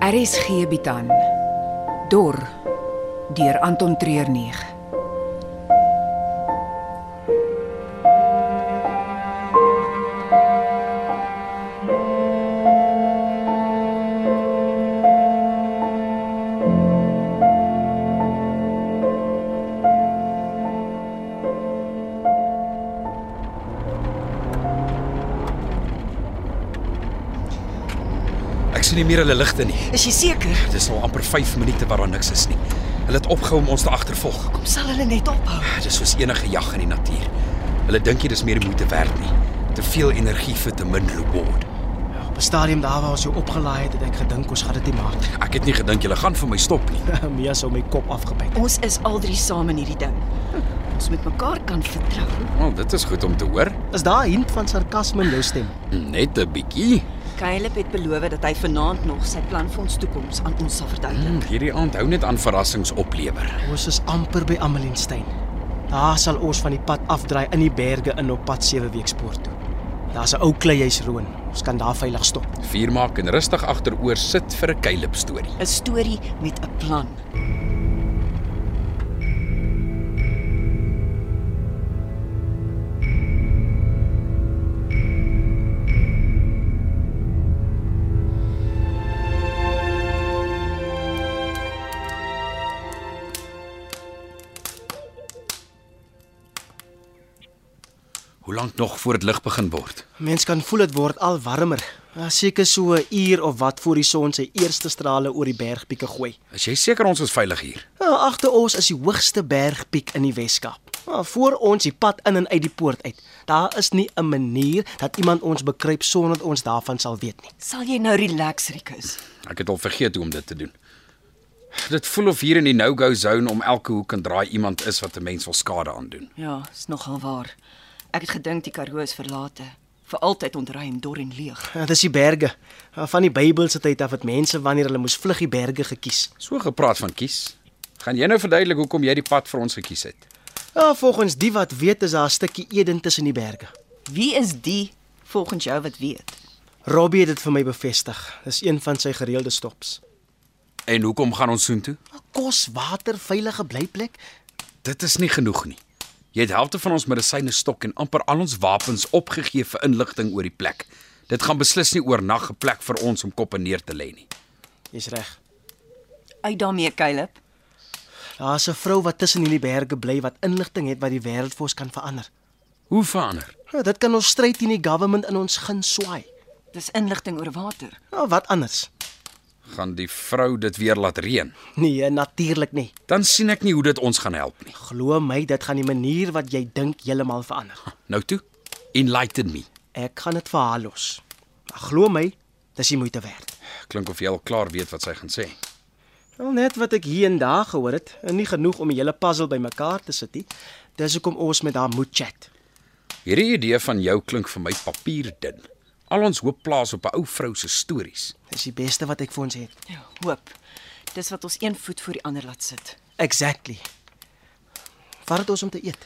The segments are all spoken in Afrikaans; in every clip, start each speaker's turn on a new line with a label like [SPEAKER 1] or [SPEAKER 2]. [SPEAKER 1] RSG bied aan Dor deur Anton Treurnig.
[SPEAKER 2] Ek sien nie meer hulle ligte nie.
[SPEAKER 3] Is jy seker?
[SPEAKER 2] Dit is al amper 5 minute waar daar niks is nie. Hulle het opgehou om ons te agtervolg. Ah,
[SPEAKER 3] Kom sal hulle net ophou.
[SPEAKER 2] Dit is soos enige jag in die natuur. Hulle dink nie dis meer die moeite werd nie. Te veel energie vir te min reward.
[SPEAKER 4] Ja, Op 'n stadium daar waar ons jou opgelaai het, het ek gedink ons gaan dit nie maak
[SPEAKER 2] Ek het nie gedink julle gaan vir my stop nie.
[SPEAKER 4] nie. Mia sou my kop afgebyt.
[SPEAKER 3] Ons is al drie saam in hierdie ding. Ons moet mekaar kan vertrou.
[SPEAKER 2] Wel, dit is goed om te hoor.
[SPEAKER 4] Is daar 'n hint van sarkasme in jou stem?
[SPEAKER 2] Net 'n bietjie.
[SPEAKER 3] Caleb het beloof dat hy vanaand nog sy plan vir ons toekoms aan ons sal verduidelik.
[SPEAKER 2] Hmm, hierdie aand hou net aan verrassings oplewer.
[SPEAKER 4] Ons is amper by Amelinstein. Daar sal ons van die pad afdraai in die berge in op pad 7 weekspoort toe. Daar's 'n ou kleihuis roon. Ons kan daar veilig stop.
[SPEAKER 2] Vier maak en rustig agteroor sit vir 'n kuilip storie.
[SPEAKER 3] 'n Storie met 'n plan.
[SPEAKER 2] Hoe lank nog voor dit lig begin word?
[SPEAKER 4] Mens kan voel dit word al warmer. Ja, Seker so 'n uur of wat voor die son sy eerste strale oor die bergpieke gooi.
[SPEAKER 2] Is jy seker ons is veilig hier?
[SPEAKER 4] Ja, agter ons is die hoogste bergpiek in die Wes-Kaap. Ja, voor ons die pad in en uit die poort uit. Daar is nie 'n manier dat iemand ons bekruip sonder dat ons daarvan sal weet nie.
[SPEAKER 3] Sal jy nou relax, Rikus?
[SPEAKER 2] Ek het al vergeet hoe om dit te doen. Dit voel of hier in die no-go zone om elke hoek en draai iemand is wat 'n mens wil skade aandoen.
[SPEAKER 3] Ja, is nogal waar. Ek het gedink die Karoo is verlate, vir altyd ontry en dor en leeg.
[SPEAKER 4] Ja, dis die berge. Ja, Van die Bybel se tyd af het mense wanneer hulle moes vlug die berge gekies.
[SPEAKER 2] So gepraat van kies. Gaan jy nou verduidelik hoekom jy die pad vir ons gekies het?
[SPEAKER 4] Ja, volgens die wat weet is daar 'n stukkie Eden tussen die berge.
[SPEAKER 3] Wie is die volgens jou wat weet?
[SPEAKER 4] Robbie het dit vir my bevestig. Dis een van sy gereelde stops.
[SPEAKER 2] En hoekom gaan ons soontoe?
[SPEAKER 4] Kos, water, veilige blyplek.
[SPEAKER 2] Dit is nie genoeg nie. Jy het helfte van ons medisyne stok en amper al ons wapens opgegee vir inligting oor die plek. Dit gaan beslis nie oornag 'n plek vir ons om koppe neer te lê nie.
[SPEAKER 4] Jy's reg.
[SPEAKER 3] Uit daarmee, Caleb.
[SPEAKER 4] Daar's 'n vrou wat tussen hierdie berge bly wat inligting het wat die wêreld vir ons kan verander.
[SPEAKER 2] Hoe verander?
[SPEAKER 4] Ja, dit kan ons stryd teen die government in ons gun swaai.
[SPEAKER 3] Dis inligting oor water.
[SPEAKER 4] Ja, wat anders?
[SPEAKER 2] Gaan die vrou dit weer laat reën?
[SPEAKER 4] Nee, natuurlik nie.
[SPEAKER 2] Dan sien ek nie hoe dit ons gaan help nie.
[SPEAKER 4] Glo my, dit gaan die manier wat jy dink heeltemal verander.
[SPEAKER 2] Nou toe, enlighten me.
[SPEAKER 4] Ek gaan dit vir haar los. Maar Glo my, dis die moeite werd.
[SPEAKER 2] Klink of jy al klaar weet wat sy gaan sê.
[SPEAKER 4] Wel net wat ek hier en daar gehoor het, en nie genoeg om die hele puzzle bymekaar te sit nie. Dis hoekom ons met haar moet chat.
[SPEAKER 2] Hierdie idee van jou klink vir my papierdun. Al ons hoop plaas op 'n ou vrou se stories.
[SPEAKER 4] Dis die beste wat ek vir ons het.
[SPEAKER 3] Ja, hoop. Dis wat ons een voet voor die ander laat sit.
[SPEAKER 4] Exactly. Wat het ons om te eet?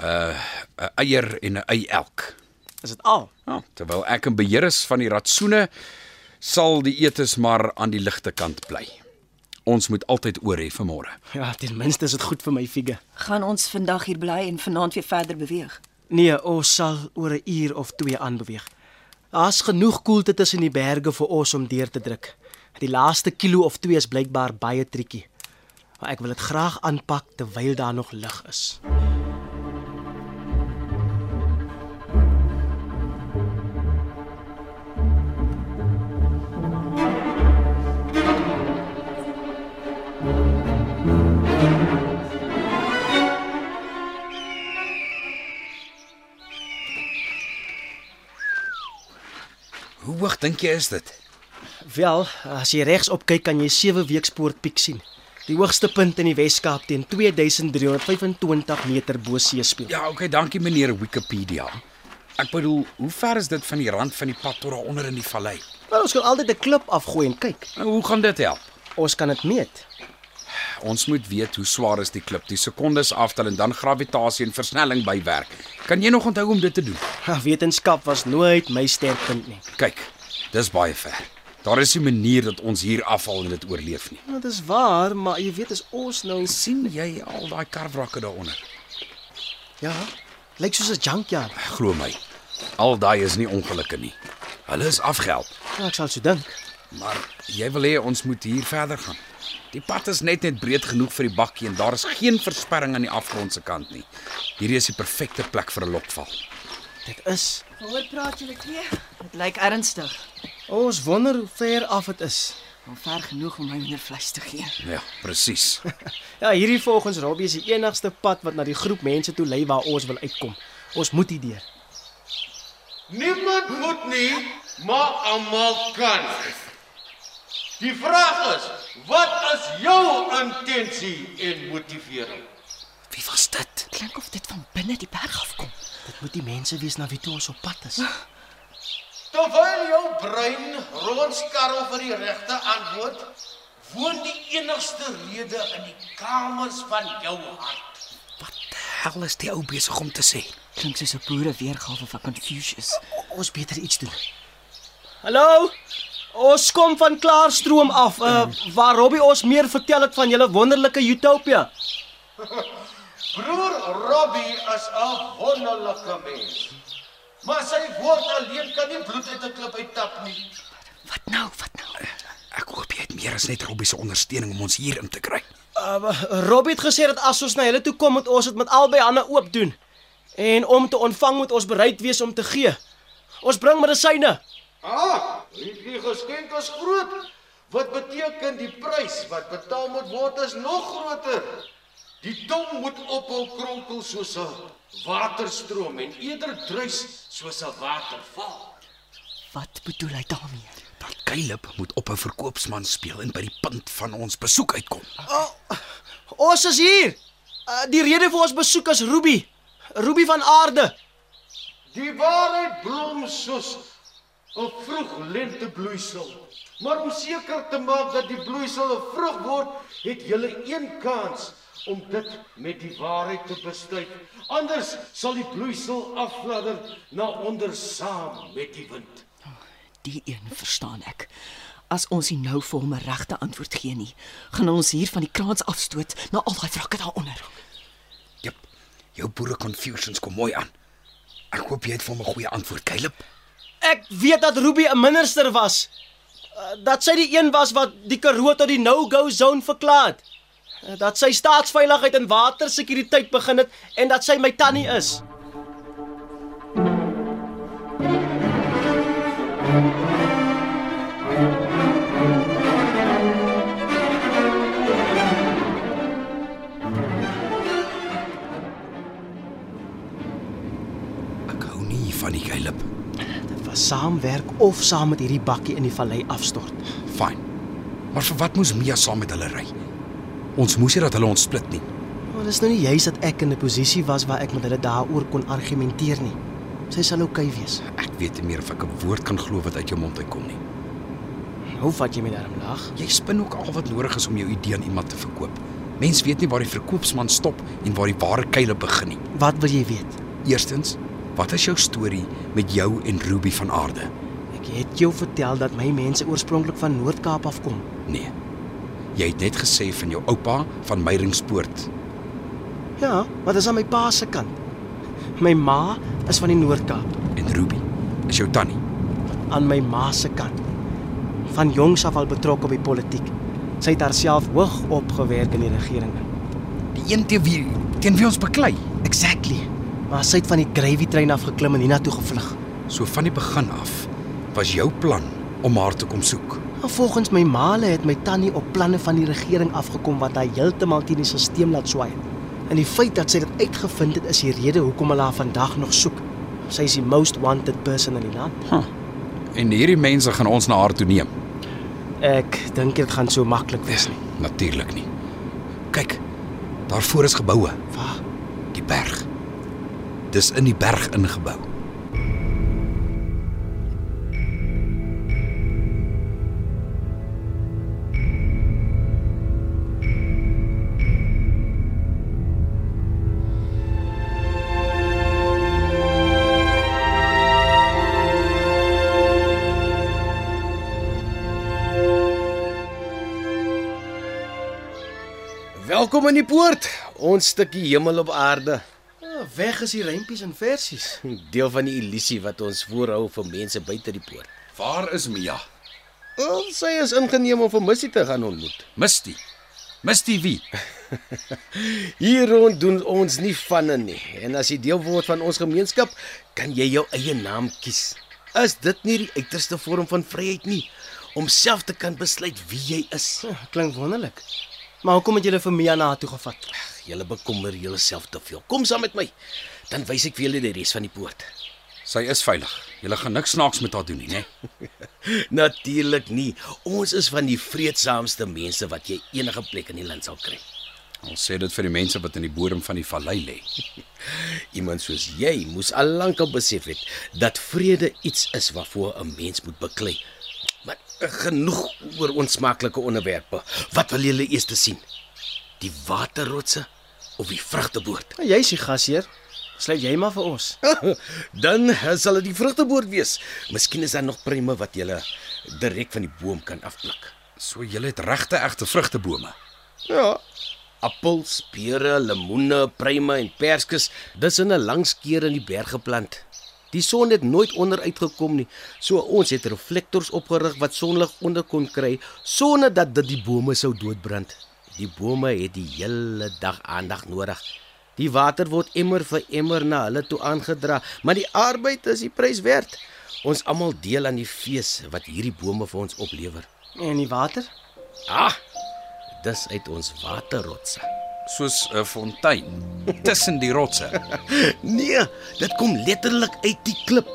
[SPEAKER 2] 'n Eier en 'n ei elk.
[SPEAKER 4] Is dit al?
[SPEAKER 2] Ja, terwyl ek in beheer is van die ratsoene, sal die etes maar aan die ligte kant bly. Ons moet altyd oor hê vir môre.
[SPEAKER 4] Ja, ten minste is dit goed vir my figure.
[SPEAKER 3] Gaan ons vandag hier bly en vanaand weer verder beweeg.
[SPEAKER 4] Nee, ons sal oor 'n uur of 2 aanbeweeg. Daar's genoeg koelte tussen die berge vir ons om deur te druk. Die laaste kilo of 2 is blykbaar baie triekie. Maar ek wil dit graag aanpak terwyl daar nog lig is.
[SPEAKER 2] Hoe hoog dink jy is dit?
[SPEAKER 4] Wel, as jy regsop kyk kan jy 7 weekspoort piek sien. Die hoogste punt in die Wes-Kaap teen 2325 meter bo see speel.
[SPEAKER 2] Ja, okay, dankie meneer Wikipedia. Ek bedoel, hoe ver is dit van die rand van die pad tot daaronder in die vallei?
[SPEAKER 4] Wel, ons kan altyd 'n klip afgooi en kyk.
[SPEAKER 2] Nou, hoe gaan dit help?
[SPEAKER 4] Ons kan dit meet.
[SPEAKER 2] Ons moet weet hoe swaar is die klip. Die sekondes aftel en dan gravitasie en versnelling bywerk. Kan jy nog onthou om dit te doen?
[SPEAKER 4] Ha, Wetenskap was nooit my sterkpunt nie.
[SPEAKER 2] Kyk, dis baie ver. Daar is 'n manier dat ons hier afval en dit oorleef nie.
[SPEAKER 4] Dit is Nou, waar, maar jy weet as ons nou
[SPEAKER 2] sien jy al daai karwrakke daaronder?
[SPEAKER 4] ja, lyk soos 'n junkyard.
[SPEAKER 2] Glo my, al daai is nie ongelukke nie. Hulle is afgehelp.
[SPEAKER 4] Ja, ek sal so dink.
[SPEAKER 2] Maar jy wil hê ons moet hier verder gaan. Die pad is net net breed genoeg vir die bakkie en daar is geen versperring aan die afgrond se kant nie. Hierdie is die perfekte plek vir 'n lokval.
[SPEAKER 4] Dit is.
[SPEAKER 3] Hoor praat julle twee? Dit lyk ernstig.
[SPEAKER 4] Ons wonder hoe ver af dit is.
[SPEAKER 3] Al ver genoeg om my minder vleis te gee.
[SPEAKER 2] Ja, presies.
[SPEAKER 4] Ja, hierdie volgens Robbie is die enigste pad wat na die groep mense toe lei waar ons wil uitkom. Ons moet hier deur.
[SPEAKER 5] Niemand moet nie, maar almal kan. Die vraag is, wat is jou intensie en motivering?
[SPEAKER 2] Wie was dit?
[SPEAKER 3] Klink of dit van binne die berg afkom.
[SPEAKER 4] Dit moet die mense wees na wie toe ons op pad is.
[SPEAKER 5] Terwyl jou brein rondskarrel vir die regte antwoord, woon die enigste rede in die kamers van jou hart.
[SPEAKER 2] Hel is die ou besig om te sê.
[SPEAKER 3] Klink soos 'n boere weergawe van Confucius.
[SPEAKER 4] Ons beter iets doen. Hallo. Ons kom van Klaarstroom af, uh, waar Robbie ons meer vertel het van julle wonderlike utopia.
[SPEAKER 5] Broer Robbie is 'n wonderlike mens. Maar sy woord alleen kan nie bloed uit 'n klip uittap nie.
[SPEAKER 3] Wat nou? Wat nou?
[SPEAKER 2] Eh, Ek hoop jy het meer as net Robbie se ondersteuning om ons hier in te kry.
[SPEAKER 4] Uh, Robbie het gesê dat as ons na hulle toe kom, moet ons dit met albei hande oop doen. En om te ontvang moet ons bereid wees om te gee. Ons bring medisyne.
[SPEAKER 5] Ah, die geskenk is groot. Wat beteken die prys wat betaal moet word is nog groter. Die tong moet ophou kronkel soos 'n waterstroom en eerder druis soos 'n waterval.
[SPEAKER 3] Wat bedoel hy daarmee?
[SPEAKER 2] Dat Kylip moet op 'n verkoopsman speel en by die punt van ons besoek uitkom.
[SPEAKER 4] Ons is hier. Uh, die rede vir ons besoek is Ruby. Ruby van Aarde.
[SPEAKER 5] Die waarheid blom soos 'n vroeg lentebloeisel. Maar om seker te maak dat die bloeisel 'n vrug word, het jy een kans om dit met die waarheid te besluit. Anders sal die bloeisel afladder na onder saam met die wind.
[SPEAKER 3] Die een verstaan ek. As ons nie nou vir hom 'n regte antwoord gee nie, gaan ons hier van die kraans afstoot na al daai wrakke daaronder.
[SPEAKER 2] Jep. Jou boere confusions kom mooi aan. Ek hoop jy het vir my 'n goeie antwoord, Kylip.
[SPEAKER 4] Ek weet dat Ruby 'n minister was. Uh, dat sy die een was wat die Karoo tot die no-go zone verklaar het. Uh, dat sy staatsveiligheid en watersekuriteit begin het en dat sy my tannie is.
[SPEAKER 2] Ek hou nie van die Kylip.
[SPEAKER 4] Dit was saamwerk of saam met hierdie bakkie in die vallei afstort.
[SPEAKER 2] Fyn. Maar vir wat moes Mia saam met hulle ry? Ons moes nie dat hulle ons split nie.
[SPEAKER 4] Maar dis nou nie juis dat ek in 'n posisie was waar ek met hulle daaroor kon argumenteer nie. Sy sal oukei okay wees.
[SPEAKER 2] Ek weet nie meer of ek 'n woord kan glo wat uit jou mond uitkom nie.
[SPEAKER 4] Hoe vat jy my daarom lag?
[SPEAKER 2] Jy spin ook al wat nodig is om jou idee aan iemand te verkoop. Mens weet nie waar die verkoopsman stop en waar die ware Kylip begin nie.
[SPEAKER 4] Wat wil jy weet?
[SPEAKER 2] Eerstens, wat is jou storie met jou en Ruby van Aarde?
[SPEAKER 4] Ek het jou vertel dat my mense oorspronklik van Noord-Kaap afkom.
[SPEAKER 2] Nee. Jy het net gesê van jou oupa van Meyringspoort.
[SPEAKER 4] Ja, maar dis aan my pa se kant. My ma is van die Noord-Kaap,
[SPEAKER 2] En Ruby is jou tannie.
[SPEAKER 4] aan my ma se kant. Van jongs af al betrokke by politiek. Sy het haarself hoog opgewerk in die regering.
[SPEAKER 2] Die een teen wie teen wie ons beklei.
[SPEAKER 4] Exactly. Maar sy het van die gravy trein af geklim en hiernatoe gevlug.
[SPEAKER 2] So van die begin af was jou plan om haar te kom soek.
[SPEAKER 4] Maar volgens my maale het my tannie op planne van die regering afgekom wat haar heeltemal teen die stelsel laat swaai. En die feit dat sy dit uitgevind het is die rede hoekom hulle haar vandag nog soek. Sy is die most wanted person in die land.
[SPEAKER 2] Huh. En hierdie mense gaan ons na haar toe neem.
[SPEAKER 4] Ek dink dit gaan so maklik wees nie.
[SPEAKER 2] Natuurlik nie. Kyk, daarvoor is geboue,
[SPEAKER 4] Waar?
[SPEAKER 2] die berg. Dis in die berg ingebou.
[SPEAKER 5] Welkom in die poort. Ons stukkie hemel op aarde.
[SPEAKER 4] Ah, weg is die rempies en versies.
[SPEAKER 5] Deel van die illusie wat ons voorhou vir mense buite die poort.
[SPEAKER 2] Waar is Mia?
[SPEAKER 5] Ons sê is ingeneem om vir Missie te gaan ontmoet.
[SPEAKER 2] Misty. Misty wie?
[SPEAKER 5] Hier rond doen ons nie vanne nie. En as jy deel word van ons gemeenskap, kan jy jou eie naam kies. Is dit nie die uiterste vorm van vryheid nie om self te kan besluit wie jy is?
[SPEAKER 4] Ah, Klink wonderlik. Maar hoekom het julle vir Mia na haar toe gevat?
[SPEAKER 5] Julle bekommer julleself te veel. Kom saam met my. Dan wys ek vir julle die res van die poort.
[SPEAKER 2] Sy is veilig. Jy gaan niks snaaks met haar doen nie, né?
[SPEAKER 5] Natuurlik nie. Ons is van die vreedsaamste mense wat jy enige plek in die land sal kry.
[SPEAKER 2] Ons sê dit vir die mense wat in die bodem van die vallei lê.
[SPEAKER 5] Iemand soos jy moes al lank al besef het dat vrede iets is waarvoor 'n mens moet beklei. Maar eh, genoeg oor onsmaaklike onderwerpe. Wat wil julle eers te sien? Die waterrotse of die vrugteboord?
[SPEAKER 4] Nou, Jy's die gasheer. Sluit jy maar vir ons.
[SPEAKER 5] Dan eh, sal dit die vrugteboord wees. Miskien is daar nog pruime wat jy direk van die boom kan afpluk.
[SPEAKER 2] So jy het regte egte vrugtebome.
[SPEAKER 5] Ja. Appels, pere, lemoene, pruime en perskes, dis in 'n lang skeer in die berg geplant. Die son het nooit onder uitgekom nie, so ons het reflektors opgerig wat sonlig onder kon kry sonder dat dit die bome sou doodbrand. Die bome het die hele dag aandag nodig. Die water word emmer vir emmer na hulle toe aangedra, maar die arbeid is die prys werd. Ons almal deel aan die fees wat hierdie bome vir ons oplewer.
[SPEAKER 4] En die water?
[SPEAKER 5] Ah, dis uit ons waterrotse.
[SPEAKER 2] Soos 'n fontein tussen die rotse.
[SPEAKER 5] Nee, dit kom letterlik uit die klip,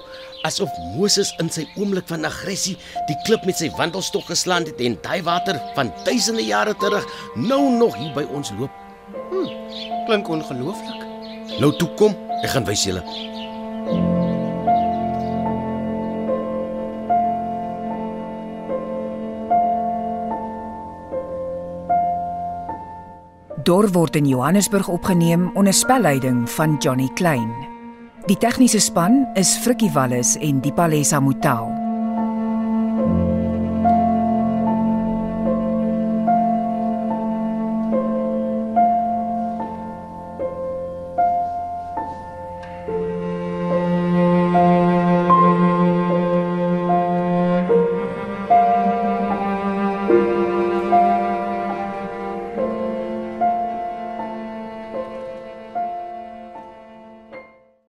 [SPEAKER 5] asof Moses in sy oomblik van agressie die klip met sy wandelstok geslaan het en daai water van duisende jare terug nou nog hier by ons loop.
[SPEAKER 4] Klink ongelooflik.
[SPEAKER 5] Nou toe kom, ek gaan wys julle.
[SPEAKER 1] Dor word in Johannesburg opgeneem onder spelleiding van Johnny Klein. Die tegniese span is Frikkie Wallis en Dipalesa Motelo.